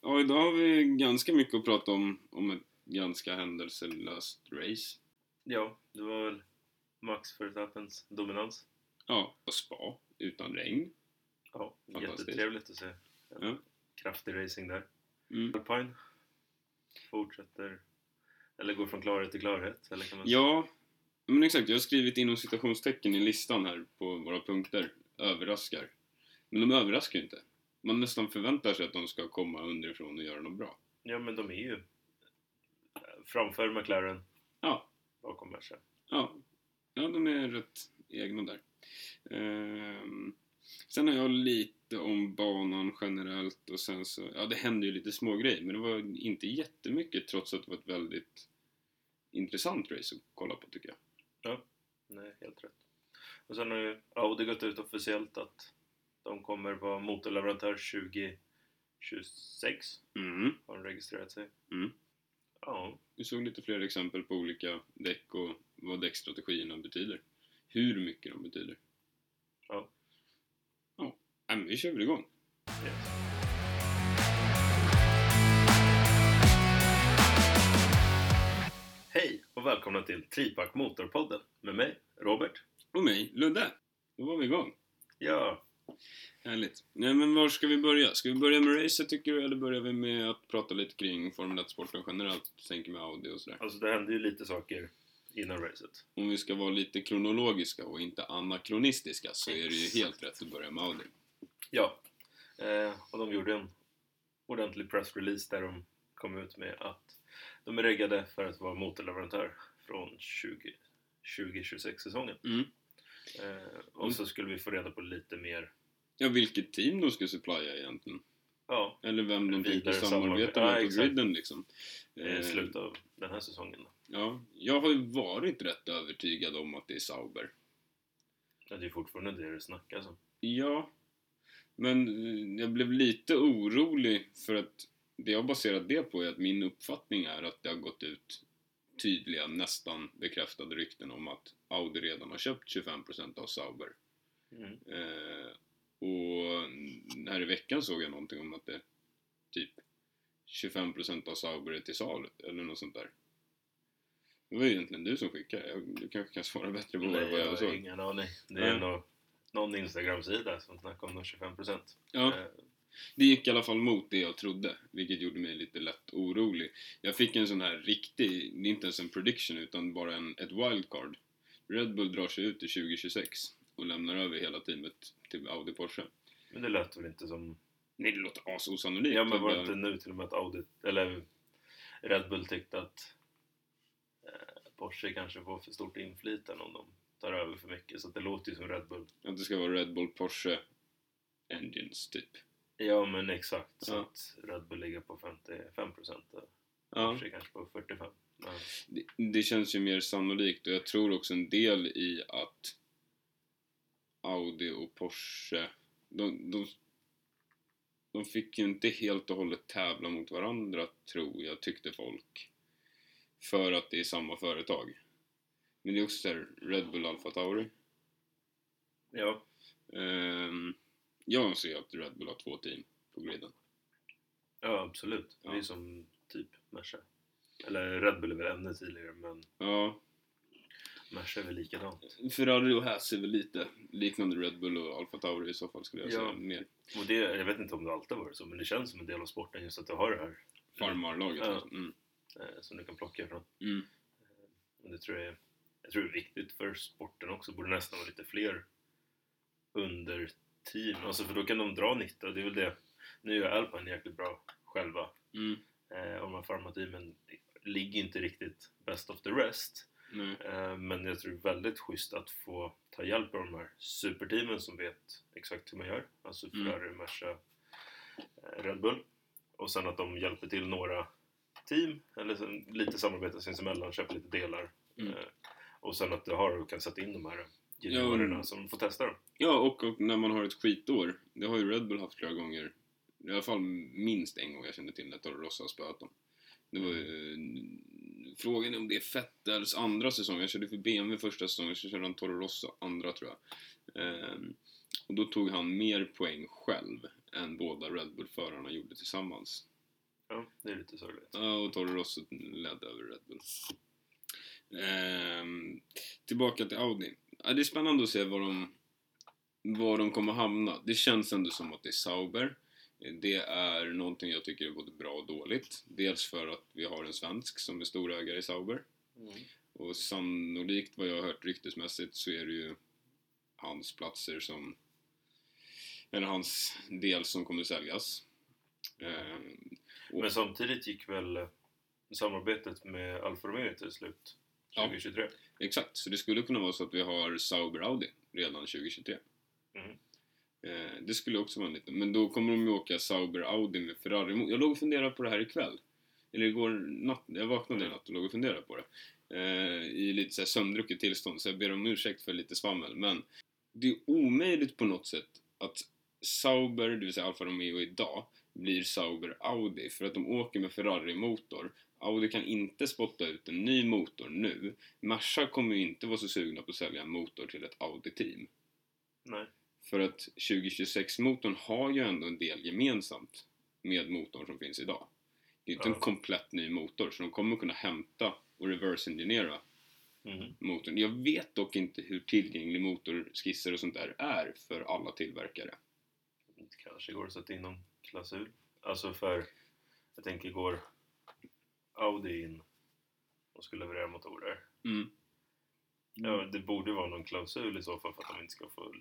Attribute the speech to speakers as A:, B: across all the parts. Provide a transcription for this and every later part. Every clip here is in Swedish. A: Ja, idag har vi ganska mycket att prata om, om ett ganska händelselöst race.
B: Ja, det var väl Max Verstappens dominans.
A: Ja, och spa utan regn.
B: Ja,
A: Fantastiskt.
B: jättetrevligt att se.
A: Ja.
B: Kraftig racing där.
A: Mm.
B: Alpine fortsätter, eller går från klarhet till klarhet, eller kan man säga.
A: Ja, men exakt. Jag har skrivit inom citationstecken i listan här på våra punkter. Överraskar. Men de överraskar ju inte. Man nästan förväntar sig att de ska komma underifrån och göra något bra.
B: Ja, men de är ju framför McLaren,
A: Ja,
B: bakom Merca.
A: ja. Ja, de är rätt egna där. Ehm, sen har jag lite om banan generellt och sen så... Ja, det hände ju lite små grejer men det var inte jättemycket trots att det var ett väldigt intressant race att kolla på tycker jag.
B: Nej, helt rätt. Och sen har ju Audi gått ut officiellt att de kommer vara motorleverantör 2026.
A: Mm.
B: Har de registrerat sig?
A: Mm.
B: Ja,
A: Vi såg lite fler exempel på olika däck och vad däckstrategierna betyder. Hur mycket de betyder.
B: Ja.
A: Ja, Nej, men vi kör väl igång.
B: yes. Hej och välkomna till Tripack Motorpodden med mig, Robert.
A: Och mig, Ludde. Då var vi igång.
B: Ja,
A: Härligt. Nej men var ska vi börja? Ska vi börja med racet tycker du eller börjar vi med att prata lite kring Formel 1-sporten generellt? Tänker med Audi och sådär.
B: alltså det hände ju lite saker innan racet.
A: Om vi ska vara lite kronologiska och inte anakronistiska så är det ju helt rätt att börja med Audi.
B: Ja, eh, och de gjorde en ordentlig pressrelease där de kom ut med att de är reggade för att vara motorleverantör från 20 2026-säsongen.
A: Mm.
B: Eh, och
A: Mm.
B: så skulle vi få reda på lite mer,
A: Ja, vilket team de ska supplya egentligen.
B: ja,
A: Eller vem de
B: Vidare
A: tänker
B: samarbete.
A: samarbeta
B: Ja,
A: med på
B: exakt.
A: griden liksom.
B: i
A: Eh,
B: slutet av den här säsongen. då.
A: Ja, jag har ju varit rätt övertygad om att det är Sauber.
B: Men det är fortfarande det det snackas om.
A: Ja, men eh, jag blev lite orolig för att det jag baserat det på är att min uppfattning är att det har gått ut tydliga, nästan bekräftade rykten om att Audi redan har köpt 25% av Sauber.
B: Mm.
A: Eh, och här i veckan såg jag någonting om att det typ 25% av Sauber är till salu eller något sånt där. Det var ju egentligen du som skickade. Jag, du kanske kan svara bättre på vad jag
B: har
A: såg.
B: ingen aning. Det är
A: Nej.
B: någon, någon Instagram-sida som snackar om de 25%.
A: Ja,
B: Eh,
A: det gick i alla fall mot det jag trodde, vilket gjorde mig lite lätt orolig. Jag fick en sån här riktig, det är inte ens en prediction utan bara en, ett wildcard. Red Bull drar sig ut till 2026 och lämnar över hela teamet till Audi Porsche.
B: men det lät väl inte som
A: Nej, det låter asosannolikt.
B: Ja men var
A: Jag
B: det
A: bara-
B: inte nu till och med att Audi, eller Red Bull tyckte att eh, Porsche kanske får för stort inflytande om de tar över för mycket så att det låter ju som Red Bull.
A: Att det ska vara Red Bull Porsche Engines, typ.
B: Ja men exakt, så
A: Ja.
B: att Red Bull ligger på 55% och
A: Ja.
B: Porsche kanske på 45%. Men,
A: Det, det känns ju mer sannolikt och jag tror också en del i att Audi och Porsche, de, de, de fick ju inte helt och hållet tävla mot varandra, tror jag, tyckte folk. För att det är samma företag. Men det är också så här, Red Bull Alfa Tauri.
B: ja,
A: Ehm, jag anser ju att Red Bull har två team på griden.
B: ja absolut.
A: Ja.
B: Det är som typ Merca. Eller Red Bull är väl ännu tidigare men
A: Ja,
B: Merca är väl likadant.
A: Ferrari och Haas är väl lite liknande Red Bull och Alfa Tauri i så fall skulle jag
B: Ja.
A: säga. Mer
B: Och det, jag vet inte om det alltid har varit så men det känns som en del av sporten just att du har det här
A: farmarlaget.
B: Ja.
A: alltså. Mm.
B: eh, som du kan plocka från.
A: Mm.
B: Men Det tror jag, är- jag tror det är viktigt för sporten också. borde nästan vara lite fler underteam. Alltså för då kan de dra nytta. Det är väl det. Nu är Alpine jäkligt bra själva.
A: Mm.
B: Eh, och de här farmateamen ligger inte riktigt best of the rest.
A: Nej.
B: Eh, men jag tror det är väldigt schysst att få ta hjälp av de här superteamen som vet exakt hur man gör. Alltså
A: Mm.
B: Ferrari, Merca, eh, Red Bull. Och sen att de hjälper till några team, eller så- lite samarbete sinsemellan, köper lite delar.
A: Mm.
B: Eh, och sen att du har och kan sätta in de här
A: Ja,
B: juniorerna
A: men-
B: som får testa dem.
A: Ja, och, och när man har ett skitår. Det har ju Red Bull haft flera gånger. I alla fall minst en gång jag kände till när Toro Rosso har spöat dem. Det var ju, eh, Frågan är om det är Vettels andra säsong. Jag körde för BMW första säsongen, så körde han Toro Rosso andra tror jag. Ehm, och då tog han mer poäng själv än båda Red Bull-förarna gjorde tillsammans.
B: Ja, det är lite sorgligt.
A: Ja, och Toro Rosso ledde över Red Bull. Ehm, tillbaka till Audi. Ja, det är spännande att se var de, var de kommer hamna. Det känns ändå som att det är Sauber. Det är någonting jag tycker är både bra och dåligt. Dels för att vi har en svensk som är storägare i Sauber. Och sannolikt vad jag har hört ryktesmässigt så är det ju hans platser som... Eller hans del som kommer säljas. Ehm,
B: Men samtidigt gick väl eh, samarbetet med Alfa Romeo till slut?
A: Ja.
B: 2023?
A: Exakt, så det skulle kunna vara så att vi har Sauber Audi redan 2023.
B: Mm.
A: Eh, det skulle också vara en liten, men då kommer de ju åka Sauber Audi med Ferrari. mot- Jag låg och funderade på det här ikväll. Eller igår natt, jag vaknade i natt och låg och funderade på det. Eh, I lite så här sömndrucket tillstånd, så jag ber om ursäkt för lite svammel. Men det är omöjligt på något sätt att Sauber, det vill säga Alfa Romeo idag, blir Sauber Audi. För att de åker med Ferrari-motor. Audi kan inte spotta ut en ny motor nu. Merca kommer ju inte vara så sugna på att sälja en motor till ett Audi-team.
B: Nej.
A: För att 2026-motorn har ju ändå en del gemensamt med motorn som finns idag. Det är inte
B: Ja.
A: en komplett ny motor, så de kommer kunna hämta och reverse-engineera
B: Mm.
A: motorn. Jag vet dock inte hur tillgänglig motorskisser och sånt där är för alla tillverkare.
B: Det kanske går att sätta in någon klausul. Alltså för, jag tänker går Audi in och ska leverera motorer.
A: Mm.
B: Ja, det borde vara någon klausul i så fall för att de inte ska få...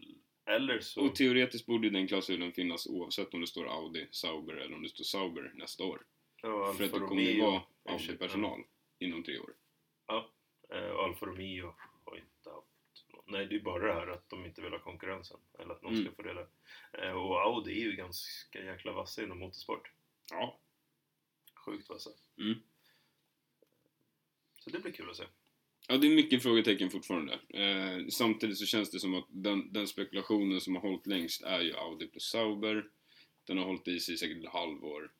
B: Eller så...
A: Och teoretiskt borde ju den klausulen finnas oavsett om det står Audi, Sauber eller om det står Sauber nästa år.
B: ja,
A: För att det
B: Alfa
A: kommer ju
B: Romeo-
A: vara Audi-personal inom tre år.
B: Eh, Alfa Romeo har inte haft nå- Nej, det är bara det här att de inte vill ha konkurrensen. Eller att någon
A: Mm.
B: ska få dela. Eh, och Audi är ju ganska jäkla vassa inom motorsport.
A: Ja,
B: Sjukt vassa.
A: Mm.
B: Så det blir kul att se.
A: Ja, det är mycket frågetecken fortfarande. Eh, samtidigt så känns det som att den, den spekulationen som har hållit längst är ju Audi plus Sauber. Den har hållit i sig säkert ett halvår.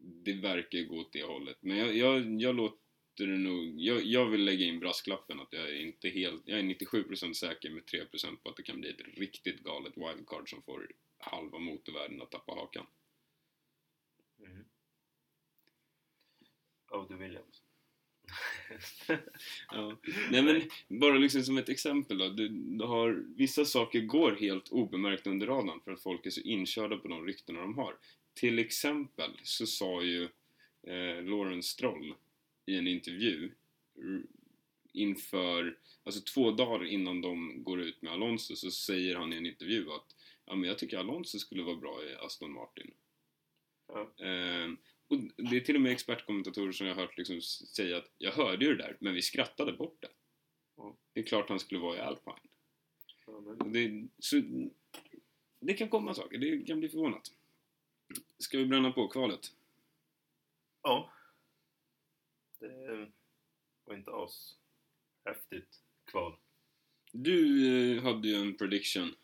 A: Det verkar ju gå åt det hållet. Men jag, jag, jag låter det nog... Jag, jag vill lägga in brasklappen att jag är inte helt... Jag är 97% säker med 3% på att det kan bli ett riktigt galet wildcard som får halva motorvärlden att tappa hakan.
B: Mm. Audi Williams.
A: Ja. Nej men, bara liksom som ett exempel då. Du, du har, vissa saker går helt obemärkt under radarn för att folk är så inkörda på de ryktena de har. Till exempel så sa ju eh, Lawrence Stroll i en intervju r- inför, alltså två dagar innan de går ut med Alonso så säger han i en intervju att ja men jag tycker Alonso skulle vara bra i Aston Martin.
B: Ja.
A: Eh, och det är till och med expertkommentatorer som jag har hört liksom s- säga att jag hörde ju det där, men vi skrattade bort det.
B: Ja.
A: Det är klart han skulle vara i Alpine.
B: Ja, men-
A: Och Det, så, det kan komma saker, det kan bli förvånat. Ska vi bränna på kvalet?
B: Ja. Det var inte oss. Häftigt kval.
A: Du eh, hade ju en prediction,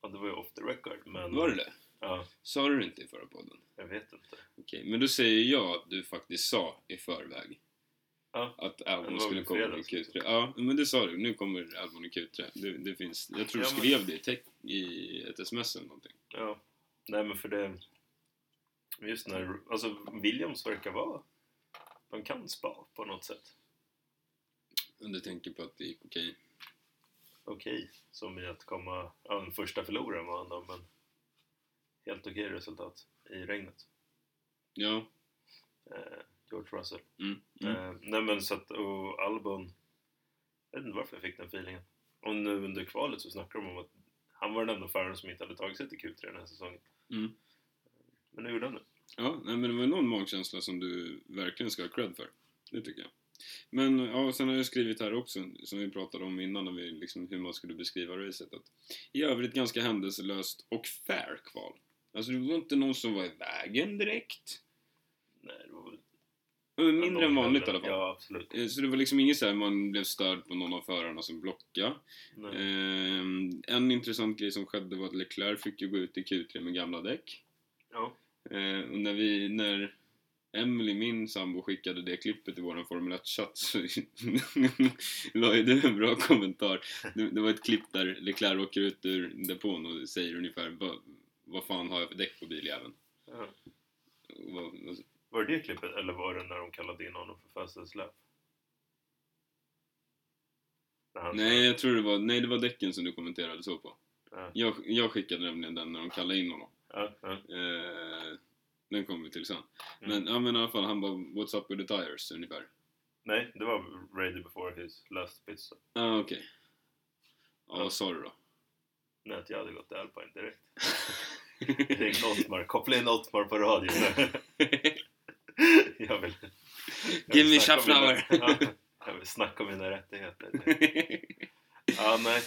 B: Ja, det var ju off the record, men...
A: var det det?
B: Ja,
A: Sa du det inte i förra podden?
B: jag vet inte.
A: Okej, men då säger jag att du faktiskt sa i förväg
B: Ja.
A: att
B: Det
A: Albon
B: var
A: skulle
B: väl
A: komma i
B: fredags.
A: Q3. Ja, men det sa du. Nu kommer Albon i Q3. Det, det finns, jag tror du
B: Ja, men-
A: skrev det i, tec- i ett sms eller någonting.
B: Ja. Nej, men för det... Just när... Alltså, Williams verkar vara... De kan spa på något sätt.
A: Om du tänker på att det gick okej.
B: Okej, som i att komma... Ja, den första förloraren var han då, men... Helt okej resultat i regnet.
A: Ja.
B: Eh, George Russell.
A: Mm. Mm.
B: Eh, nej men så att, och Albon... Jag vet inte varför jag fick den feelingen. Och nu under kvalet så snackar de om att han var den enda föraren som inte hade tagit sig till Q3 den här säsongen.
A: Mm.
B: Men nu gjorde han det.
A: Ja, nej, men det var någon magkänsla som du verkligen ska ha cred för. Det tycker jag. Men ja, sen har jag skrivit här också, som vi pratade om innan, när vi, liksom, hur man skulle beskriva racet. Att I övrigt ganska händelselöst och fair kval. Alltså det var inte någon som var i vägen direkt.
B: Nej, det var väl...
A: Ja, men Mindre än
B: de
A: vanligt i
B: hände-
A: alla fall.
B: Ja, absolut.
A: Eh, Så det var liksom inget så här man blev störd på någon av förarna som blockade.
B: Nej.
A: Ehm, en intressant grej som skedde var att Leclerc fick ju gå ut i Q3 med gamla däck.
B: Ja.
A: Eh, och när vi, när Emily, min sambo, skickade det klippet i våran Formel 1-chatt så la ju du en bra kommentar. Det, det var ett klipp där Leclerc åker ut ur depån och säger ungefär "Va- vad fan har jag för däck på biljäveln?
B: Ja.
A: Och vad-
B: över det klippet eller eh, var det när de kallade in honom för födelsedagslöp? När han-
A: Nej, jag tror det var, nej, det var däcken som du kommenterade så på.
B: Ja.
A: Jag, jag skickade nämligen den när de kallade in honom.
B: Ja, ja.
A: Eh, den kommer vi till sen.
B: Mm.
A: Men, ja, men i alla fall, han bara 'What's up with the tires?' ungefär.
B: Nej, det var Ready before his last pit stop.
A: Ja, ah, okej. Ja,
B: Ja.
A: vad sa du då?
B: Nej, att jag hade gått till Alpine direkt. Ring Ottmar, koppla in Ottmar på radio. jag vill, jag
A: Give me
B: vill snacka om
A: Schaffnauer.
B: mina- Ja, Jag vill snacka om mina rättigheter. Ja, nej.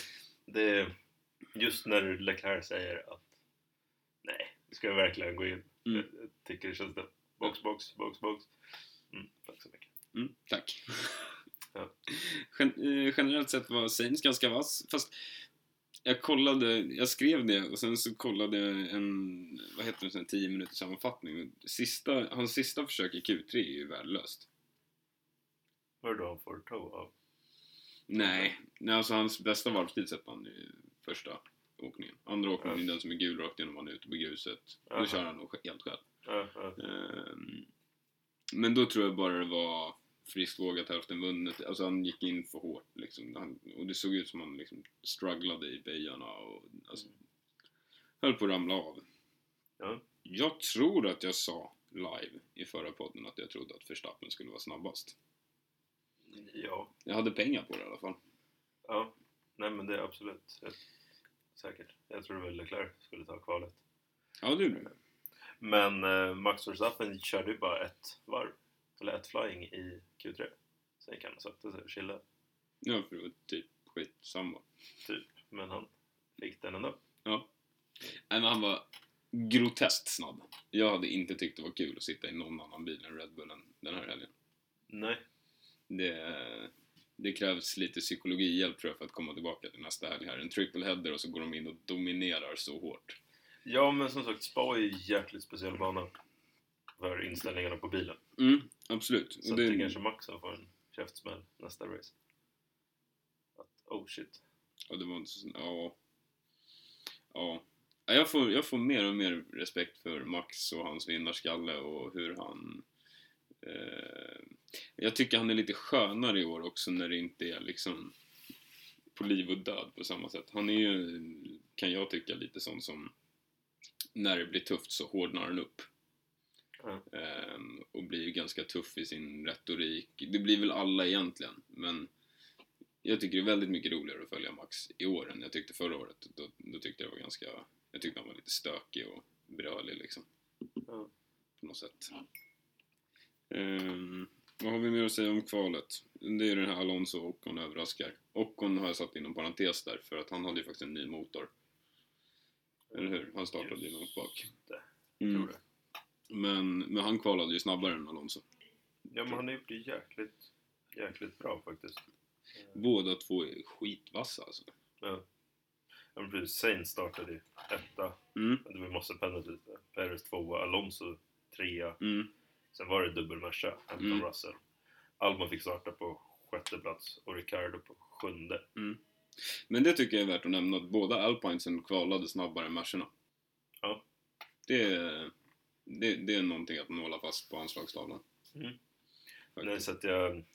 B: Det är just när Leclerc säger att nej, ska jag verkligen gå in.
A: Mm.
B: Jag, jag tycker det känns det. Box, box, box, box. Mm, tack så mycket.
A: Mm, tack.
B: Ja.
A: Gen- eh, generellt sett var Sainz ganska vass, fast jag kollade, jag skrev det och sen så kollade jag en, vad heter det, sån här 10 minuters sammanfattning. Och Sista, hans sista försök i Q3 är ju värdelöst.
B: Var det då han får toe av?
A: Nej, nej alltså hans bästa varvstid sätter han i första åkningen. Andra åkningen
B: Ja.
A: är den som är gul rakt igenom, han är ute på gruset.
B: Aha.
A: Då kör han nog helt själv.
B: Ja, ja.
A: Ehm, Men då tror jag bara det var friskt vågat hälften vunnet. Alltså han gick in för hårt liksom. Han, och det såg ut som han liksom strugglade i böjarna och alltså, höll på att ramla av.
B: Ja.
A: Jag tror att jag sa live i förra podden att jag trodde att Verstappen skulle vara snabbast.
B: ja.
A: Jag hade pengar på det i alla fall.
B: Ja, nej men det är absolut jag, säkert. Jag tror väl Leclerc skulle ta kvalet.
A: Ja, det gjorde du.
B: Men eh, Max Verstappen körde ju bara ett varv, eller ett flying i Q3. Sen gick han och satte sig och chillade,
A: Ja, för det var typ skitsamma.
B: typ. Men han fick den ändå.
A: Ja. Nej, men han var groteskt snabb. Jag hade inte tyckt det var kul att sitta i någon annan bil än Red Bullen den här helgen.
B: Nej,
A: det, det krävs lite psykologihjälp tror jag för att komma tillbaka till nästa helg här. En triple header och så går de in och dominerar så hårt.
B: ja men som sagt, Spa är ju en jäkligt speciell bana för inställningarna på bilen.
A: Mm, absolut.
B: Så
A: Och
B: det,
A: det,
B: det kanske Max som får en käftsmäll nästa race. Att, oh shit.
A: ja, det var inte så... Ja. Ja. Ja, Jag får, jag får mer och mer respekt för Max och hans vinnarskalle och hur han... Eh, jag tycker han är lite skönare i år också när det inte är liksom på liv och död på samma sätt. Han är ju, kan jag tycka, lite sån som när det blir tufft så hårdnar han upp.
B: Ja.
A: Ehm, och blir ju ganska tuff i sin retorik. Det blir väl alla egentligen, men jag tycker det är väldigt mycket roligare att följa Max i år än jag tyckte förra året. Då, då tyckte jag det var ganska, jag tyckte han var lite stökig och brölig liksom.
B: Ja.
A: På något sätt. Ehm, vad har vi mer att säga om kvalet? Det är ju den här Alonso och Ocon överraskar. Ocon har jag satt inom parentes där, för att han hade ju faktiskt en ny motor. Eller hur? Han startade ju
B: Just
A: långt bak.
B: det,
A: Mm.
B: Tror det.
A: Men, men han kvalade ju snabbare än Alonso.
B: Ja men han har gjort det jäkligt, jäkligt bra faktiskt.
A: Båda två är skitvassa alltså.
B: Ja. Ja men precis, Sainz startade ju etta.
A: Mm,
B: Det var Mosse Penalty. Perez tvåa, Alonso trea.
A: mm,
B: Sen var det dubbelmatcha, Hamilton
A: Mm.
B: Russell. Alma fick starta på sjätte plats och Ricardo på sjunde.
A: mm. Men det tycker jag är värt att nämna, att båda alpinesen kvalade snabbare än Mercerna.
B: Ja.
A: Det, är- det, det är någonting att måla fast på anslagstavlan.
B: Mm. Nej,
A: Faktiskt.
B: så att jag...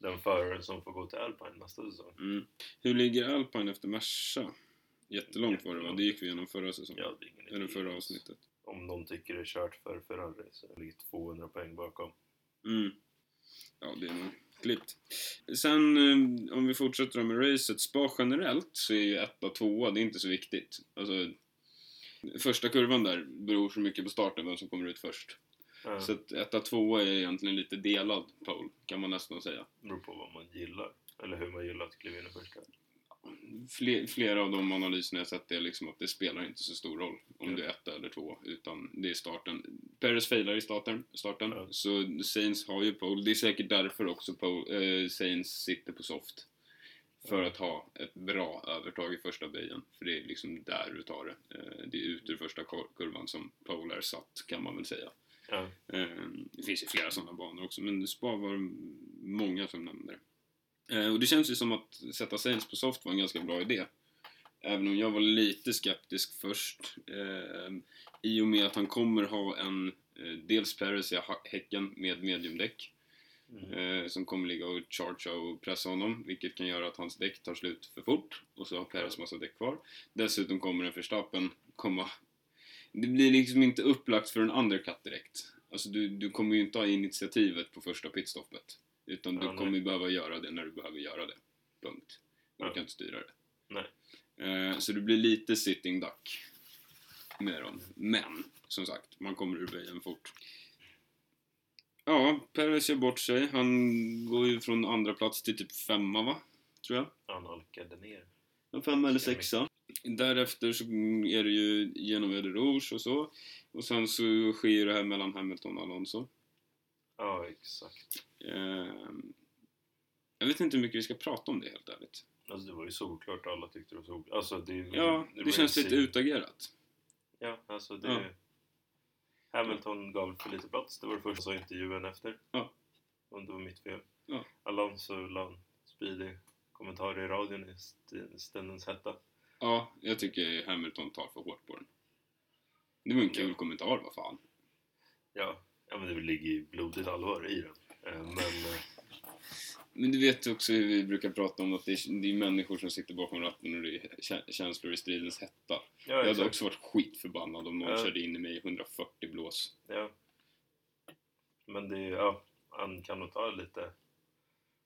B: Den föraren som får gå till Alpine nästa säsong.
A: Mm. Hur ligger Alpine efter Merca? Jättelångt var det va?
B: Jättelångt.
A: Det gick vi igenom förra säsongen.
B: Jag hade ingen idé.
A: Eller förra avsnittet.
B: Om någon tycker det är kört för Ferrari så ligger 200 poäng bakom.
A: Mm. Ja, det är nog klippt. Sen, eh, om vi fortsätter med racet, spa generellt så är ju etta, tvåa, det är inte så viktigt. Alltså, första kurvan där beror så mycket på starten, vem som kommer ut först.
B: Ja,
A: Så att etta, tvåa är egentligen lite delad pole, kan man nästan säga.
B: beror på vad man gillar. Eller hur man gillar att kliva in i första.
A: Fle- flera av de analyserna jag sett är liksom att det spelar inte så stor roll om
B: Ja.
A: du är etta eller tvåa, utan det är starten. Perez failar i starten, starten
B: Ja.
A: så Sainz har ju pole. Det är säkert därför också pole, eh, Sainz sitter på soft. För
B: Ja.
A: att ha ett bra övertag i första böjen, för det är liksom där du tar det. Eh, det är ut ur första kor- kurvan som pole är satt, kan man väl säga.
B: Ja,
A: Eh, Det finns ju flera sådana banor också, men Spa var det många som nämnde det. Eh, Och det känns ju som att sätta Saints på soft var en ganska bra idé. Även om jag var ehm, lite skeptisk först. eh, I och med att han kommer ha en eh, dels Paris i ha- häcken med mediumdäck
B: Mm.
A: eh, som kommer ligga och chargea och pressa honom vilket kan göra att hans däck tar slut för fort och så har Perez massa däck kvar. Dessutom kommer en förstappen komma... Det blir liksom inte upplagt för en undercut direkt. Alltså du, du kommer ju inte ha initiativet på första pitstoppet utan du
B: Ja, nej.
A: kommer ju behöva göra det när du behöver göra det. Punkt. Du
B: Ja.
A: kan inte styra det. Eh, så det blir lite sitting duck med dem. Men, som sagt, man kommer ur böjen fort. Ja, Perez gör bort sig. Han går ju från andra plats till typ femma, va? Tror jag.
B: Han halkade ner.
A: En femma eller
B: Stämmer.
A: sexa. Därefter så är det ju Genovede Rouge och så. Och sen så sker ju det här mellan Hamilton och Alonso.
B: Ja, exakt.
A: Eh, jag vet inte hur mycket vi ska prata om det, helt ärligt.
B: Alltså det var ju solklart alla tyckte det var solklart. Alltså det...
A: Ja,
B: var
A: Mm. det känns
B: ju
A: lite
B: sin-
A: utagerat.
B: Ja, alltså det...
A: Ja.
B: Hamilton gav för lite plats. Det var det första jag sa i intervjun efter.
A: Ja.
B: Om det var mitt fel.
A: Ja.
B: Alonso la en speedig kommentar i radion i st- stundens hetta.
A: Ja, jag tycker Hamilton tar för hårt på den. Det var en kul kommentar, vad fan.
B: Ja, ja men det ligger ju blodigt allvar i den. Eh, Men eh,
A: Men du vet också hur vi brukar prata om att det är, det är människor som sitter bakom ratten och det är kä- känslor i stridens hetta.
B: ja,
A: Jag hade
B: exakt.
A: också varit skitförbannad om någon
B: Ja.
A: körde in i mig i 140 blås.
B: Ja. Men det är ja, han kan nog ta lite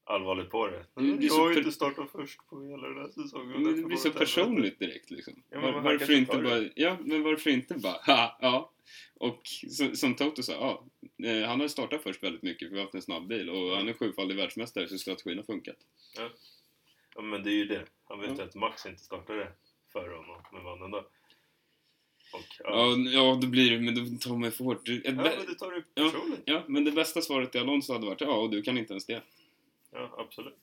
B: allvarligt på det.
A: Det blir
B: jag
A: så
B: har ju
A: per-
B: inte startat först på hela den här säsongen.
A: Men det
B: därför
A: blir
B: får
A: så
B: jag inte helvete.
A: personligt direkt liksom.
B: Ja, men
A: Var,
B: man typ
A: varför
B: kanske
A: inte
B: tar
A: bara, ja, men varför inte bara, ha, ja. Och så, som Toto sa, ja, eh, han har startat först väldigt mycket för vi har haft en snabb bil och han är sjufaldig världsmästare så strategin har funkat.
B: Ja, men det är ju det. Han vet ju
A: Ja.
B: att Max inte startade före honom, men vann ändå. Och, ja.
A: Ja, ja då blir det, men då tar man ju för hårt. Du- ett
B: Ja,
A: bä-
B: men du tar det
A: Ja.
B: personligt.
A: Ja, men det bästa svaret till Alonso hade varit ja, och du kan inte ens det.
B: Ja, absolut.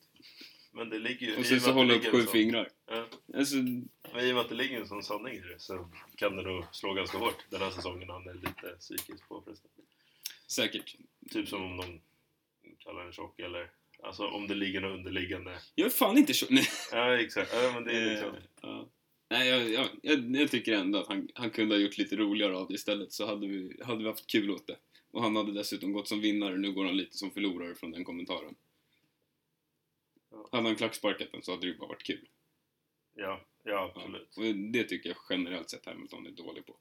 B: Men det ligger ju... i
A: Och sen
B: med
A: så
B: att det
A: hålla upp
B: ligger
A: sju
B: en sån-
A: fingrar.
B: Ja,
A: Alltså,
B: men i och med att det ligger en sån sanning i det så kan det nog slå ganska hårt den här säsongen han är lite psykiskt påfrestad.
A: säkert.
B: Typ som om de kallar den tjock eller... Alltså om det ligger något underliggande.
A: Jag är fan inte tjock. Nej,
B: Ja, exakt. Ja, men det är liksom...
A: eh, ja. Nej jag, jag, jag, jag tycker ändå att han, han kunde ha gjort lite roligare av det istället så hade vi, hade vi haft kul åt det. Och han hade dessutom gått som vinnare, nu går han lite som förlorare från den kommentaren.
B: Ja.
A: Hade han klacksparkat den så hade det ju bara varit kul.
B: Ja, ja
A: Ja.
B: absolut.
A: Och det tycker jag generellt sett Hamilton är dålig på.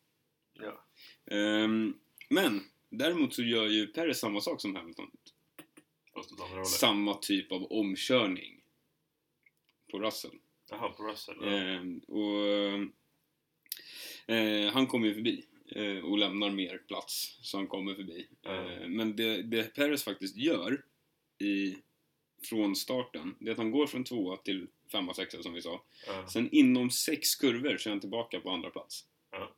B: Ja.
A: Ehm, men, däremot så gör ju Perez samma sak som Hamilton.
B: Fast åt andra hållet.
A: samma typ av omkörning på Russell.
B: Jaha, på Russell. Ja.
A: Ehm, och, eh, han kommer ju förbi eh, och lämnar mer plats, så han kommer förbi.
B: Ja.
A: Eh, men det, det Perez faktiskt gör i, från starten, det är att han går från tvåa till femma, sexa som vi sa.
B: Ja.
A: Sen inom sex kurvor så är han tillbaka på andra plats.
B: Ja.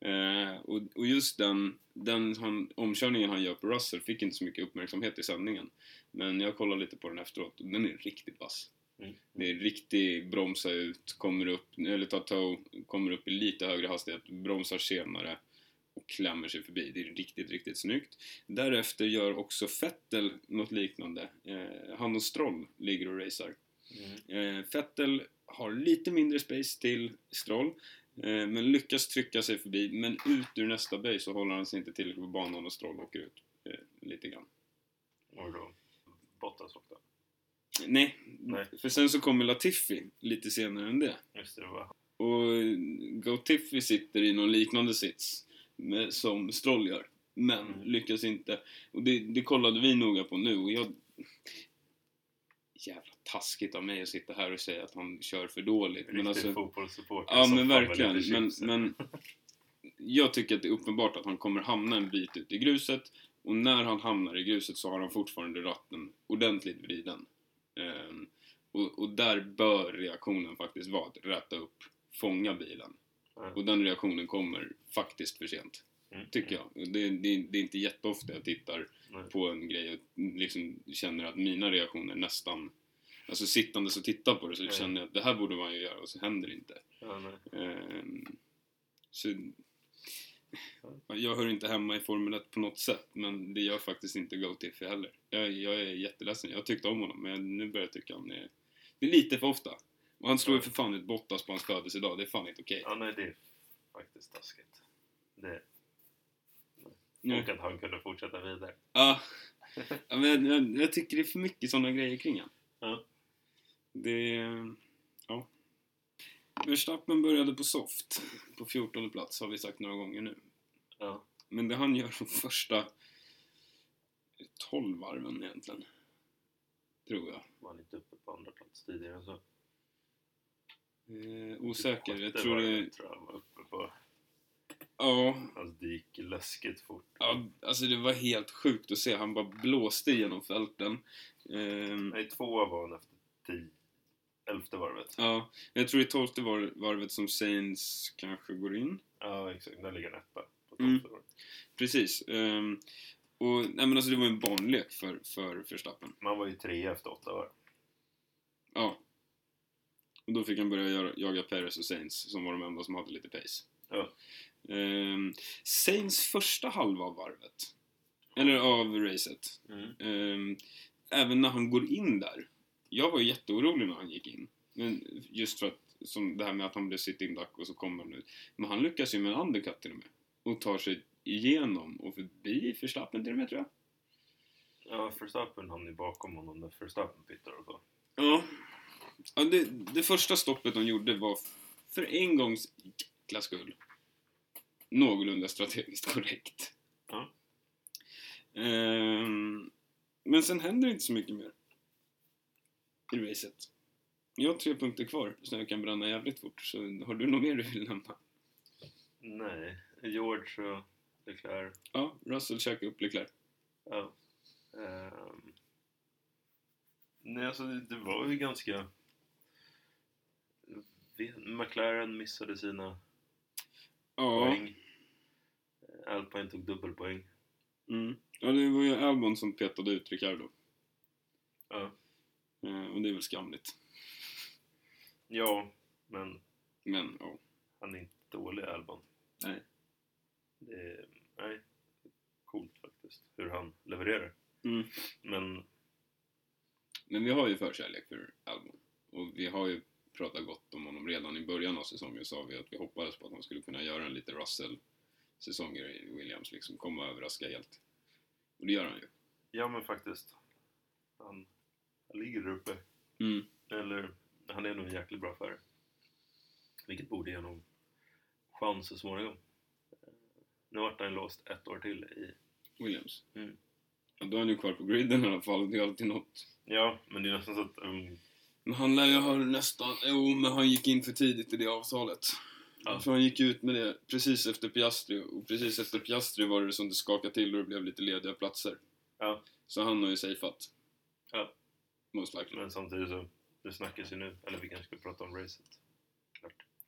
A: Eh, och, och just den, den han, omkörningen han gör på Russell fick inte så mycket uppmärksamhet i sändningen. Men jag kollade lite på den efteråt och den är riktigt vass.
B: Mm.
A: Det är riktigt bromsa ut, kommer upp, eller ta tow, kommer upp i lite högre hastighet, bromsar senare och klämmer sig förbi. Det är riktigt, riktigt snyggt. Därefter gör också Vettel något liknande. Eh, han och Stroll ligger och racear.
B: Mm.
A: Eh, Vettel har lite mindre space till Stroll, eh, men lyckas trycka sig förbi. Men ut ur nästa böj så håller han sig inte tillräckligt på banan och Stroll åker ut eh, lite grann.
B: Och då Bottas åkte.
A: Nej,
B: Nej.
A: för sen så kommer Latifi lite senare än det.
B: Just det, det var
A: Och eh, Gotifi sitter i någon liknande sits med, som Stroll gör. Men
B: Mm.
A: lyckas inte. Och det, det kollade vi noga på nu och jag... Jävla taskigt av mig att sitta här och säga att han kör för dåligt.
B: riktig
A: men alltså,
B: fotbollssupporter.
A: Ja
B: som
A: men
B: fan väl
A: verkligen,
B: lite
A: men,
B: chips.
A: men jag tycker att det är uppenbart att han kommer hamna en bit ut i gruset och när han hamnar i gruset så har han fortfarande ratten ordentligt vriden. Ehm, och, och där bör reaktionen faktiskt vara att räta upp, fånga bilen.
B: Ja.
A: Och den reaktionen kommer faktiskt för sent,
B: Mm.
A: tycker jag. Och Det, det, det är inte jätteofta jag tittar
B: Nej.
A: på en grej och liksom känner att mina reaktioner nästan... Alltså sittandes och tittar på det så
B: Mm.
A: känner jag att det här borde man ju göra och så händer det inte.
B: Ja, nej.
A: Ehm, så, jag hör inte hemma i Formel 1 på något sätt, men det gör faktiskt inte Gotiffy heller. Jag, jag är jätteledsen. Jag tyckte om honom, men nu börjar jag tycka han är... Det är lite för ofta. Och han slår ju för fan ut Bottas på hans födelsedag. Det är fan inte okej.
B: ja, nej det är faktiskt taskigt. Det...
A: Mm.
B: och att han kunde fortsätta vidare.
A: Ja. ja men jag, jag, jag tycker det är för mycket sådana grejer kring han.
B: Ja.
A: Det... är- Ja. Verstappen började på soft. På 14 plats har vi sagt några gånger nu.
B: Ja.
A: Men det han gör de första 12 varven egentligen. Tror jag.
B: Var han inte uppe på andra plats tidigare än så?
A: Eh, osäker. Jag
B: Det
A: tror
B: var,
A: det...
B: tror jag var uppe på...
A: Ja,
B: Alltså det gick läskigt fort.
A: Ja, alltså det var helt sjukt att se. Han bara blåste igenom fälten. Ehm,
B: Nej, tvåa var han efter tio, elfte varvet.
A: ja, jag tror det är tolfte var, varvet som Sainz kanske går in.
B: Ja, exakt. Där ligger han etta. På
A: Mm.
B: tolfte varvet.
A: Precis. Ehm, och, nej men alltså det var en barnlek för, för Verstappen.
B: Man var ju trea efter åtta varv.
A: Ja. Och då fick han börja göra, jaga Perez och Sainz, som var de enda som hade lite pace.
B: Ja.
A: Ehm, Sainz första halva av varvet, eller av racet,
B: Mm.
A: Ehm, även när han går in där. Jag var ju jätteorolig när han gick in. Men just för att, som det här med att han blev sitting duck och så kommer han ut. Men han lyckas ju med en undercut till och med. Och tar sig igenom och förbi Verstappen till och med tror jag.
B: Ja, Verstappen hann ju bakom honom när Verstappen bytte och så.
A: Ja. ja det, det första stoppet de gjorde var för en gångs jäkla skull någorlunda strategiskt korrekt.
B: Ja.
A: Ehm, men sen händer det inte så mycket mer i racet. Jag har tre punkter kvar så jag kan bränna jävligt fort. Så har du något mer du vill nämna?
B: Nej, George och Leclerc.
A: Ja, Russell käkade upp Leclerc.
B: Ja. Ehm. Nej, alltså det, det var ju ganska... Vi- McLaren missade sina
A: Ja,
B: poäng. Alpine tog dubbelpoäng.
A: mm. ja, det var ju Albon som petade ut Ricardo.
B: Ja.
A: Ehm, och det är väl skamligt.
B: ja, men
A: Men ja.
B: han är inte dålig Albon.
A: Nej.
B: Det är, nej, coolt faktiskt hur han levererar.
A: Mm.
B: Men
A: Men vi har ju förkärlek för Albon. Och vi har ju pratat gott om honom redan i början av säsongen sa vi att vi hoppades på att han skulle kunna göra en lite Russell-säsonger i Williams, liksom komma och överraska helt. Och det gör han ju.
B: ja, men faktiskt. Han, han ligger där uppe.
A: Mm.
B: Eller, han är nog en jäkligt bra affär. Vilket borde ge honom chans så småningom. Eh, Nu vart han låst ett år till i...
A: Williams.
B: Mm.
A: Ja, då är han ju kvar på griden i alla fall, det är alltid något.
B: Ja, men det är nästan så att... Um,
A: Men han lär ju ha nästan... Jo, men han gick in för tidigt i det avtalet.
B: Ja.
A: För han gick ut med det precis efter Piastri och precis efter Piastri var det som det skakade till och det blev lite lediga platser.
B: Ja.
A: Så han har ju safeat.
B: Ja.
A: Most likely.
B: men samtidigt så, det snackas ju nu. Eller vi kanske ska prata om racet.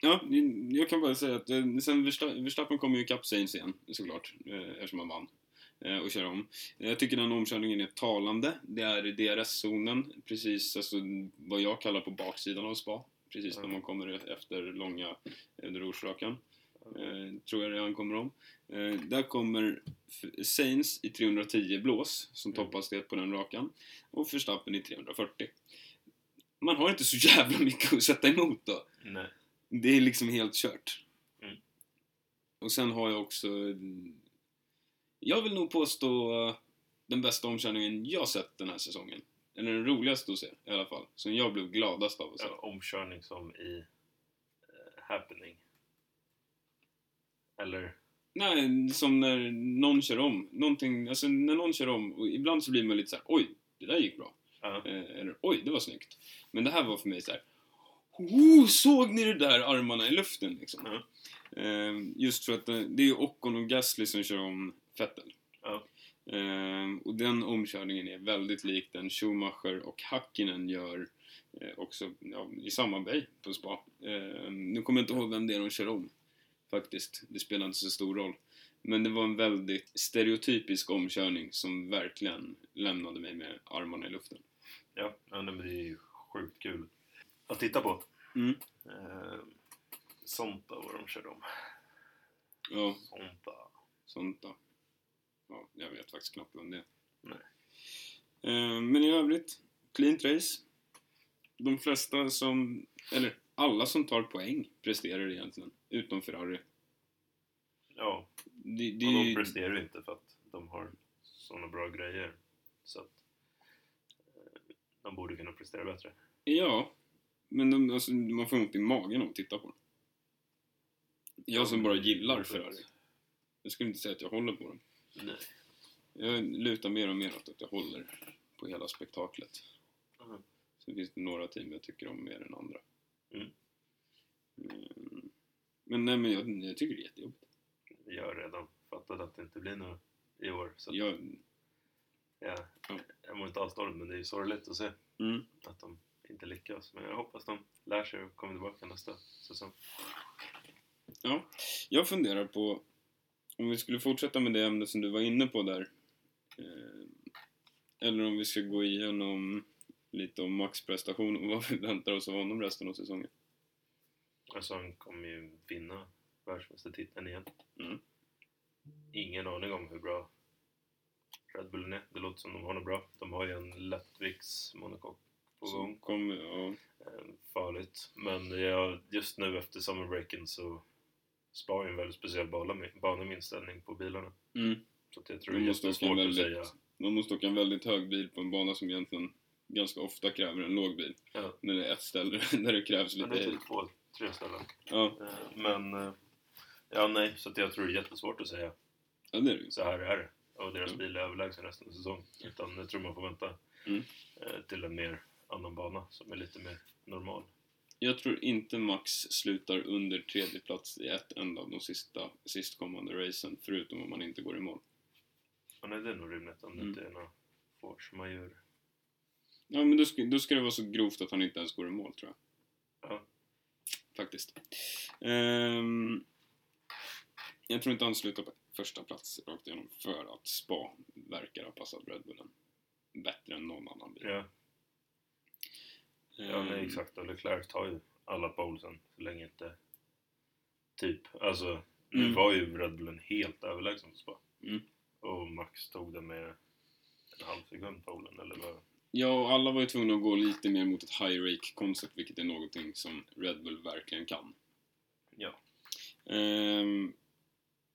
A: Ja, jag kan bara säga att eh, sen Versta- Verstappen kom ju ikapp Sainz igen, såklart, eh, eftersom han vann eh, och kör om. Jag tycker den omkörningen är talande. Det är i DRS-zonen, precis alltså, vad jag kallar på baksidan av spa. Precis när
B: Mm.
A: man kommer efter långa eh, rorsakan. Eh, tror jag det är han kommer om. Eh, där kommer F- Sainz i 310 blås, som
B: Mm.
A: topphastighet på den rakan. Och Verstappen i 340. Man har inte så jävla mycket att sätta emot då.
B: Nej.
A: Det är liksom helt kört.
B: Mm.
A: Och sen har jag också... Jag vill nog påstå eh, den bästa omkörningen jag sett den här säsongen. Eller den roligaste att se i alla fall. Som jag blev gladast av att se.
B: En omkörning som i eh, happening. Eller?
A: Nej, som när någon kör om. Någonting, alltså när någon kör om, och ibland så blir man lite så här: oj, det där gick bra.
B: Ja.
A: Eh, Eller oj, det var snyggt. Men det här var för mig så här. Oh, såg ni det där armarna i luften liksom?
B: Ja.
A: Eh, Just för att eh, det är ju Ocon och Gasly som kör om Vettel.
B: Ja.
A: Eh, Och den omkörningen är väldigt lik den Schumacher och Hakkinen gör eh, också ja, i samma bay på spa. Eh, Nu kommer jag inte ihåg vem det är de kör om faktiskt. Det spelar inte så stor roll. Men det var en väldigt stereotypisk omkörning som verkligen lämnade mig med armarna i luften.
B: Ja, ja nej, men det är ju sjukt kul att titta på.
A: Mm.
B: Eh, Sompa var de körde om.
A: Ja,
B: Sompa.
A: sånt då. Ja, jag vet faktiskt knappt vem det är.
B: Nej.
A: Eh, men i övrigt, cleant race. De flesta som, eller alla som tar poäng presterar egentligen, utom Ferrari.
B: Ja,
A: Det, det
B: Och
A: är
B: de
A: ju-
B: presterar ju inte för att de har sådana bra grejer. Så att eh, de borde kunna prestera bättre.
A: Ja, men de, alltså, man får ont i magen av att titta på dem. Jag som bara gillar Ferrari. Jag skulle inte säga att jag håller på dem.
B: Nej.
A: Jag lutar mer och mer åt att jag håller på hela spektaklet.
B: Mhm.
A: Sen finns det några team jag tycker om mer än andra.
B: Mm.
A: Mm. Men nej, men jag, jag tycker det är jättejobbigt.
B: Jag har redan fattat att det inte blir något i år. Så att
A: Jag,
B: jag,
A: Ja.
B: jag mår inte alls dåligt men det är ju sorgligt att se
A: mm,
B: att de inte lyckas. Men jag hoppas de lär sig och kommer tillbaka nästa säsong.
A: ja. jag funderar på om vi skulle fortsätta med det ämne som du var inne på där. Eh, eller om vi ska gå igenom lite om Max prestation och vad vi väntar oss av honom resten av säsongen.
B: Alltså han kommer ju vinna världsmästartiteln igen.
A: Mm.
B: Ingen aning om hur bra Red Bullen är. Det låter som de har något bra. De har ju en lättvikts monocoque på
A: Som
B: gång.
A: Kommer, ja,
B: Eh, Farligt. Men jag, just nu efter summerbreaken så spar ju en väldigt speciell bana med, bana med inställning på bilarna.
A: mm.
B: Så att jag tror
A: De
B: det är
A: måste åka
B: jättesvårt att
A: väldigt-
B: säga.
A: Man måste åka en väldigt hög bil på en bana som egentligen ganska ofta kräver en låg bil.
B: Ja.
A: När det är ett ställe där det krävs
B: Men det är
A: lite...
B: typ två, tre ställen.
A: Ja,
B: Eh, Men eh, ja, nej, så att jag tror det är jättesvårt att säga
A: ja det är det ju.
B: så här är det. Och deras
A: Mm.
B: bil är överlägsen resten av säsongen. Utan jag tror man får vänta
A: Mm.
B: eh, till en mer annan bana som är lite mer normal.
A: Jag tror inte Max slutar under tredje plats i ett enda av de sista, sistkommande racen, förutom om man inte går i mål.
B: Men nej, det är nog rimligt om det
A: Mm.
B: inte är några force majeure.
A: Ja, men då ska, då ska det vara så grovt att han inte ens går i mål, tror jag.
B: Ja.
A: Faktiskt. Ehm, jag tror inte han slutar på första plats rakt igenom, för att Spa verkar ha passat Red Bullen bättre än någon annan bil.
B: Ja, ja nej,
A: Ehm,
B: exakt. Och Leclerc tar ju alla polesen så länge inte... Typ, alltså nu
A: Mm.
B: var ju Red Bullen helt överlägsen på Spa.
A: Mm.
B: Och Max tog det med en halv sekund polen eller vad?
A: Ja, och alla var ju tvungna att gå lite mer mot ett high rake koncept, vilket är någonting som Red Bull verkligen kan.
B: Ja.
A: Ehm,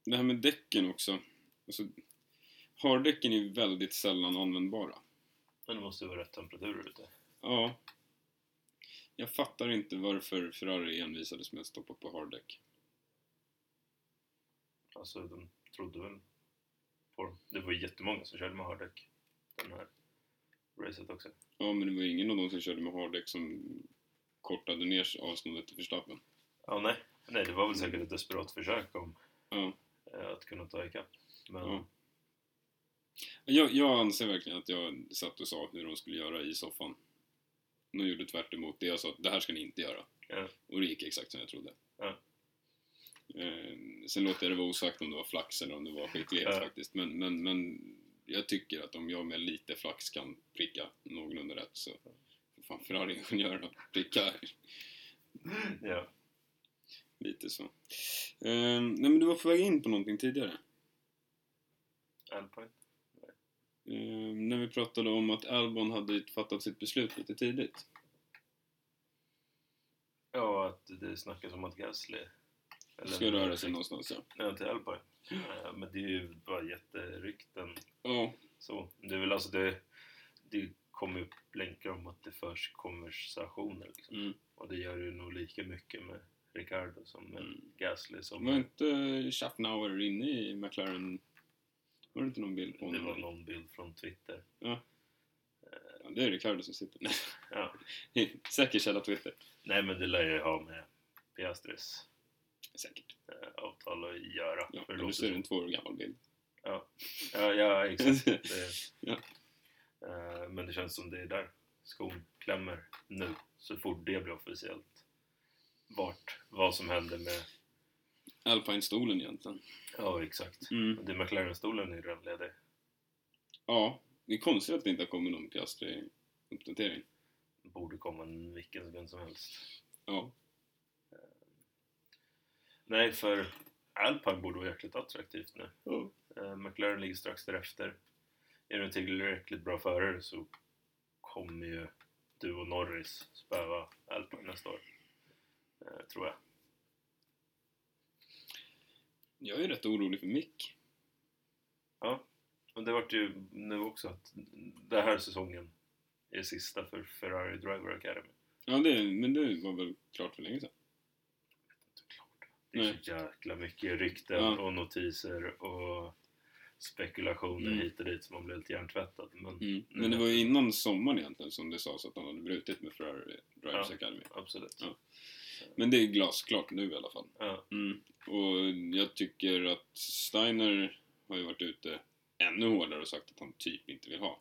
A: det här med däcken också. Alltså, hardäcken är väldigt sällan användbara.
B: Men det måste ju vara rätt temperaturer ute.
A: Ja. Jag fattar inte varför Ferrari envisades med att stoppa på hardäck.
B: Alltså de trodde väl på dem. Det var ju jättemånga som körde med harddäck den här racet också.
A: Ja, men det var ju ingen av dem som körde med hardäck som kortade ner avståndet till Verstappen.
B: Ja, nej. nej, det var väl säkert ett desperat försök om
A: Ja.
B: eh, att kunna ta ikapp. Men
A: Ja. Jag, jag anser verkligen att jag satt och sa hur de skulle göra i soffan. De gjorde tvärt emot det jag sa, det här ska ni inte göra.
B: Ja.
A: Och det gick exakt som jag trodde.
B: Ja.
A: Eh, sen låter jag det vara osagt om det var flax eller om det var skicklighet
B: Ja.
A: faktiskt. Men, men, men jag tycker att om jag med lite flax kan pricka någorlunda rätt så för fan Ferrari-ingenjörerna prickar
B: ja.
A: lite så. Eh, nej men du var på väg in på någonting tidigare.
B: Alpine.
A: Eh, när vi pratade om att Albon hade fattat sitt beslut lite tidigt.
B: Ja, att det snackas om att Gasly... eller-
A: Ska röra sig någonstans ja.
B: Ja, till Alpine. Eh, Men det är ju bara jätterykten
A: Ja,
B: Så, det är väl alltså det, det kommer upp länkar om att det förs konversationer liksom.
A: Mm.
B: Och det gör ju nog lika mycket med Ricardo som med
A: Mm.
B: Gasly
A: det
B: som
A: var inte Schaffnauer inne i McLaren? Var det inte någon bild på
B: det
A: honom?
B: var någon bild från Twitter.
A: Ja, det är Ricardo som sitter.
B: Ja.
A: Nej, Säker källa Twitter.
B: Nej men det lär ju ha med Piastris
A: Säkert.
B: eh, avtal att göra.
A: Ja,
B: för det
A: nu
B: låter
A: ser du
B: som...
A: en två år gammal bild.
B: ja, ja exakt. Det,
A: Ja.
B: Eh, men det känns som det är där skon klämmer nu. Så fort det blir officiellt. Vart, vad som händer med...
A: Alpine-stolen egentligen.
B: Ja exakt.
A: Mm.
B: Det är McLaren-stolen är redan ledig.
A: Ja, det är konstigt att det inte har kommit någon Piastri-uppdatering.
B: borde komma en vilken sekund som helst.
A: Ja.
B: Nej, för Alpine borde vara jäkligt attraktivt nu.
A: Ja.
B: Eh, McLaren ligger strax därefter. Är du inte tillräckligt bra förare så kommer ju du och Norris spöa Alpine nästa år. Eh, tror jag.
A: Jag är rätt orolig för Mick.
B: Ja, och det vart ju nu också att den här säsongen är sista för Ferrari Driver Academy.
A: Ja, det, men det var väl klart för länge sedan.
B: Det är
A: Nej.
B: så jäkla mycket rykten
A: Ja.
B: och notiser och spekulationer
A: Mm.
B: hit och dit som man blir helt hjärntvättad. Men
A: Mm. Men det var ju innan sommaren egentligen som det sades att han hade brutit med Ferrari Drivers
B: Ja.
A: Academy.
B: absolut.
A: Ja. Men det är glasklart nu i alla fall.
B: Ja.
A: Mm. Och jag tycker att Steiner har ju varit ute ännu hårdare och sagt att han typ inte vill ha.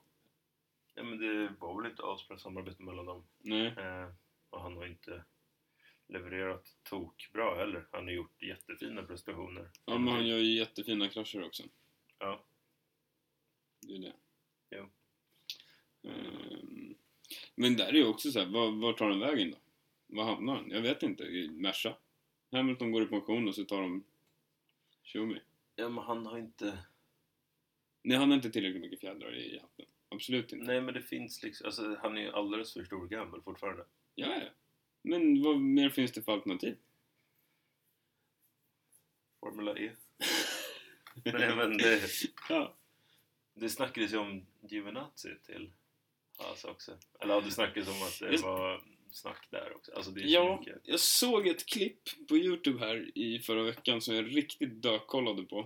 B: ja, men det var väl inte avspänt samarbete mellan dem.
A: Nej.
B: Eh, och han har inte levererat tokbra heller. Han har gjort jättefina prestationer.
A: Ja, men han gör ju jättefina krascher också.
B: Ja.
A: Det är det.
B: Jo.
A: Ehm, Men där är ju också så här, var, var tar han vägen då? Var hamnar han? Jag vet inte. I Merca? Hamilton går i pension och så tar de Schumi.
B: Ja, men han har inte...
A: Nej, han har inte tillräckligt mycket fjädrar i hatten. Absolut inte.
B: Nej, men det finns liksom... Alltså, han är ju alldeles för stor gammal fortfarande.
A: Ja, ja. Men vad mer finns det för alternativ?
B: Formula E. Nej, men det,
A: Ja.
B: det snackades ju om Giovinazzi till Haas också. Eller ja, det snackades om att det
A: Just-
B: var snack där också. Alltså, det är så
A: ja,
B: mycket.
A: jag såg ett klipp på Youtube här i förra veckan som jag riktigt dökollade på.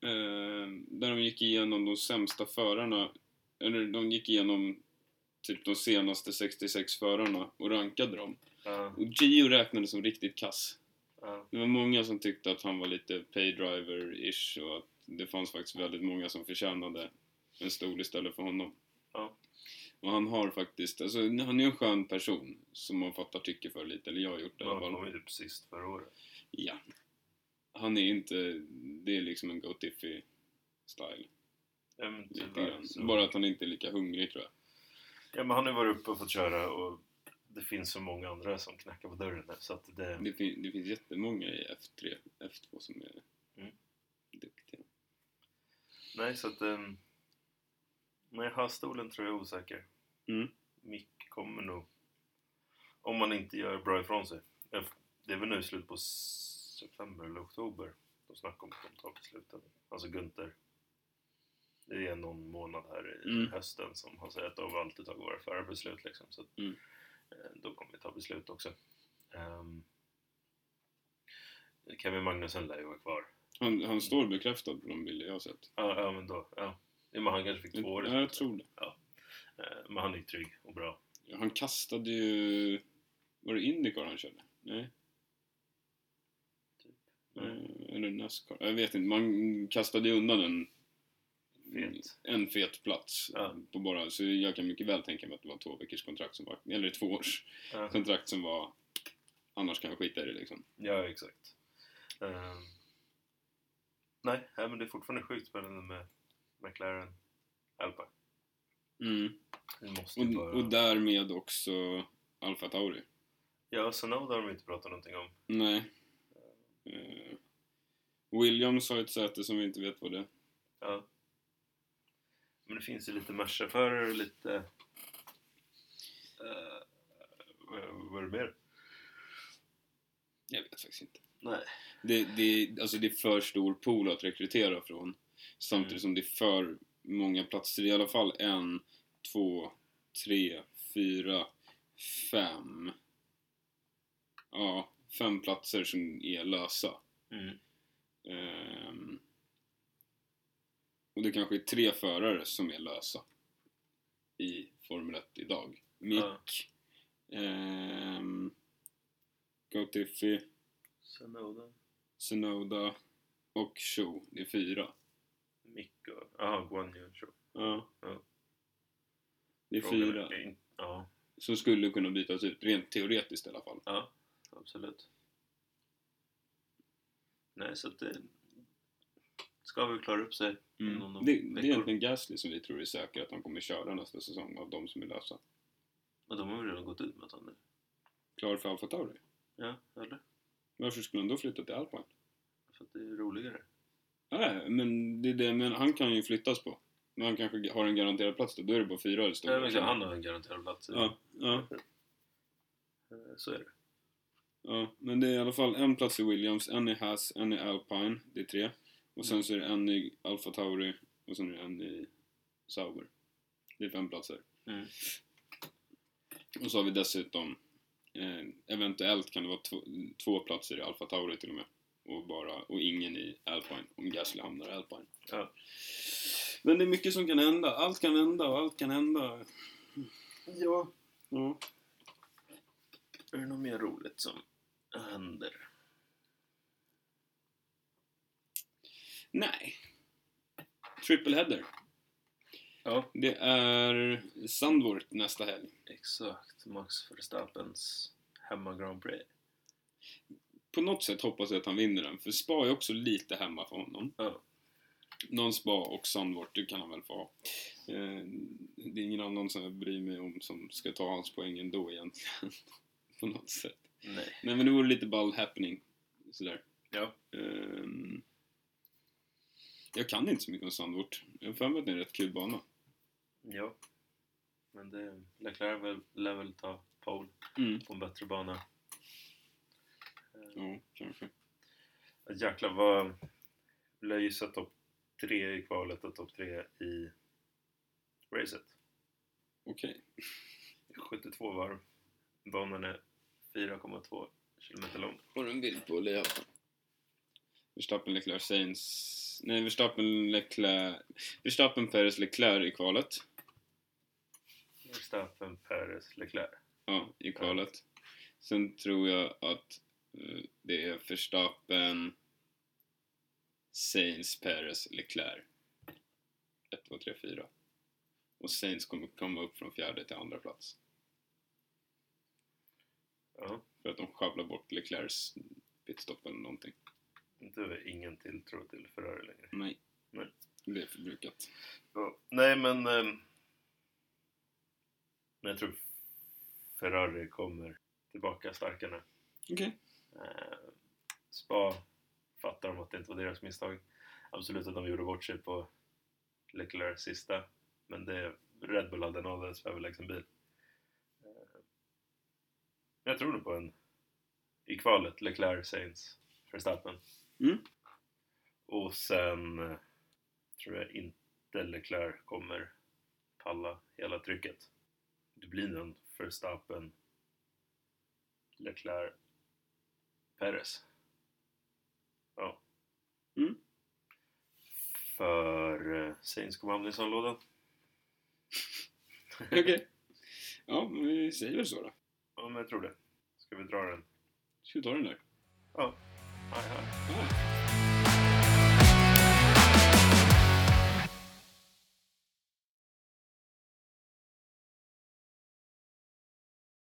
A: Ehm, där de gick igenom de sämsta förarna, eller de gick igenom typ de senaste 66 förarna och rankade dem.
B: Ja,
A: Och Gio räknades som riktigt kass.
B: ja,
A: Det var många som tyckte att han var lite paydriver-ish och att det fanns faktiskt väldigt många som förtjänade en stol istället för honom.
B: Ja.
A: Och han har faktiskt, alltså han är en skön person som man fattar tycke för lite, eller jag har gjort det i alla
B: han
A: fall.
B: kom ju typ sist förra året.
A: Ja. Han är inte, det är liksom en Gotiffy style.
B: Ja, men
A: Lite
B: tyvärr
A: grann.
B: så-
A: Bara att han inte är lika hungrig tror jag.
B: Ja, men han har ju varit uppe och fått köra och det finns så många andra som knackar på dörren nu så att det...
A: Det, fin- det finns jättemånga i F3, F2 som är
B: Mm.
A: duktiga.
B: Nej, så att... Um, nej, hasstolen tror jag är osäker.
A: Mm.
B: Mick kommer nog... Om man inte gör bra ifrån sig. Jag- Det är väl nu i slutet på s- september eller oktober de snackar om att de tar besluten. Alltså Gunther. Det är någon månad här i
A: Mm.
B: hösten som han säger att de har alltid tagit våra förra beslut liksom. Så att,
A: Mm.
B: eh, då kommer vi ta beslut också. Um, Kevin Magnusson lär ju vara kvar.
A: Han, han står bekräftad på de bilder jag har sett.
B: Ja, ja men då. Ja. Jo, men han kanske fick två år.
A: Ja, Mm, jag tror det.
B: Eh, Men han är ju trygg och bra.
A: Ja, Han kastade ju... Var det Indycar han körde? Nej.
B: Typ.
A: Eh, Eller Nascar? Jag vet inte. Man kastade ju undan en, Mm.
B: Fet.
A: en fet plats.
B: Ja.
A: På bara, så jag kan mycket väl tänka mig att det var två veckors kontrakt som var... Eller två års
B: Ja.
A: kontrakt som var... Annars kan jag skita i det liksom.
B: Ja, exakt. Ehm, nej, nej, men det är fortfarande sjukt spännande med McLaren Alpa. Mm. Vi måste ju
A: Och,
B: bara...
A: och därmed också Alfa Tauri.
B: Ja, Sonoda har de inte pratat någonting om.
A: Nej. Eh, Williams har ett säte som vi inte vet vad det är.
B: Ja. Men det finns ju lite Merca-förare och lite... eh, vad- vad är det mer?
A: Jag vet faktiskt inte.
B: Nej.
A: Det, det, alltså det är för stor pool att rekrytera från. Samtidigt som
B: Mm.
A: det är för många platser. I alla fall en, två, tre, fyra, fem. Ja, fem platser som är lösa.
B: Mm.
A: Ehm. och det kanske är tre förare som är lösa i Formel 1 idag. Mick,
B: Ja.
A: ehm, Gautifi,
B: Sonoda,
A: Sonoda och Cho. Det är fyra.
B: Mick och... Ja, Guan Yu. tror
A: Ja.
B: Ja.
A: Det är
B: jag. Frågan
A: fyra.
B: är- Ja,
A: Som skulle kunna bytas ut, rent teoretiskt i alla fall.
B: Ja, absolut. Nej, så att det ska vi klara upp sig inom
A: Mm.
B: några
A: Det, det är
B: veckor.
A: egentligen Gasly som vi tror är säker att han kommer köra nästa säsong av de som är lösa.
B: Men de har väl redan gått ut med att han är...
A: Klar för Alfa Tauri.
B: Ja, eller?
A: Varför skulle han då flytta till Alpine?
B: För att det är roligare.
A: Nej, men det är det, men han kan ju flyttas på. Men han kanske har en garanterad plats då, då är det bara fyra eller
B: Nej,
A: stora.
B: men han har en garanterad plats.
A: ja, ja.
B: Eh, Så är det.
A: Ja, men det är i alla fall en plats i Williams, en i Haas, en i Alpine, det är tre. Och
B: Mm.
A: sen så är det en i Alfa Tauri och sen är det en i Sauber. Det är fem platser.
B: Mm.
A: Och så har vi dessutom, eh, eventuellt kan det vara två, två platser i Alfa Tauri till och med. Och, bara, och ingen i Alpine, om Gasly hamnar i Alpine.
B: Ja.
A: Men det är mycket som kan hända. Allt kan hända och allt kan hända.
B: Ja.
A: Ja.
B: Är det något mer roligt som händer?
A: Nej. Triple header.
B: Ja,
A: Det är Sandvort nästa helg.
B: exakt. Max Verstappens hemma Grand Prix.
A: På något sätt hoppas jag att han vinner den, för Spa är också lite hemma för honom.
B: Ja.
A: Någon Spa och Sandvort, det kan han väl få ha. Eh, Det är ingen annan som jag bryr mig om som ska ta hans poäng ändå egentligen. på något sätt.
B: Nej.
A: Nej men det vore lite ball happening. Sådär.
B: Ja.
A: Ehm, jag kan inte så mycket om Sandvort. Jag har för mig att det är en rätt kul bana.
B: Ja. Men det... Leclerc väl- lär väl ta pole på en bättre bana.
A: Ja, kanske.
B: Ja, Jäklar vad... Lär ju sätta topp tre i kvalet och topp tre i racet.
A: Okej.
B: 72 varv. Banan är 4,2 kilometer lång.
A: Har du en bild på det i alla fall? Verstappen, Leclerc, Sainz... Nej, Verstappen, Leclerc... Verstappen, Perez, Leclerc i kvalet.
B: Verstappen, Perez, Leclerc.
A: Ja, i kvalet. Sen tror jag att eh, det är Verstappen, Sainz, Perez, Leclerc. 1, 2, 3, 4. Och Sainz kommer komma upp från fjärde till andra plats.
B: Ja,
A: För att de sjabblar bort Leclercs pitstop eller någonting.
B: du har ingen tilltro till Ferrari längre.
A: Nej.
B: Nej.
A: Det är förbrukat.
B: Ja, nej, men... ehm, men jag tror Ferrari kommer tillbaka starkare.
A: Okej.
B: Eh, Spa fattar de att det inte var deras misstag. Absolut att de gjorde bort sig på Leclerc sista, men det Red Bull hade en alldeles överlägsen bil. Eh, Jag tror nog på en i kvalet, Leclerc, Sainz, Verstappen.
A: Mm.
B: Och sen eh, tror jag inte Leclerc kommer palla hela trycket. Det blir nog en Verstappen, Leclerc, Perez. Ja.
A: Mm.
B: För eh, Sainz kommer hamna i sandlådan.
A: Okej. Ja, men vi säger väl så då.
B: Ja, men jag tror det. Ska vi dra den?
A: Ska vi ta den där?
B: Ja. Hej, hej.
A: Ja.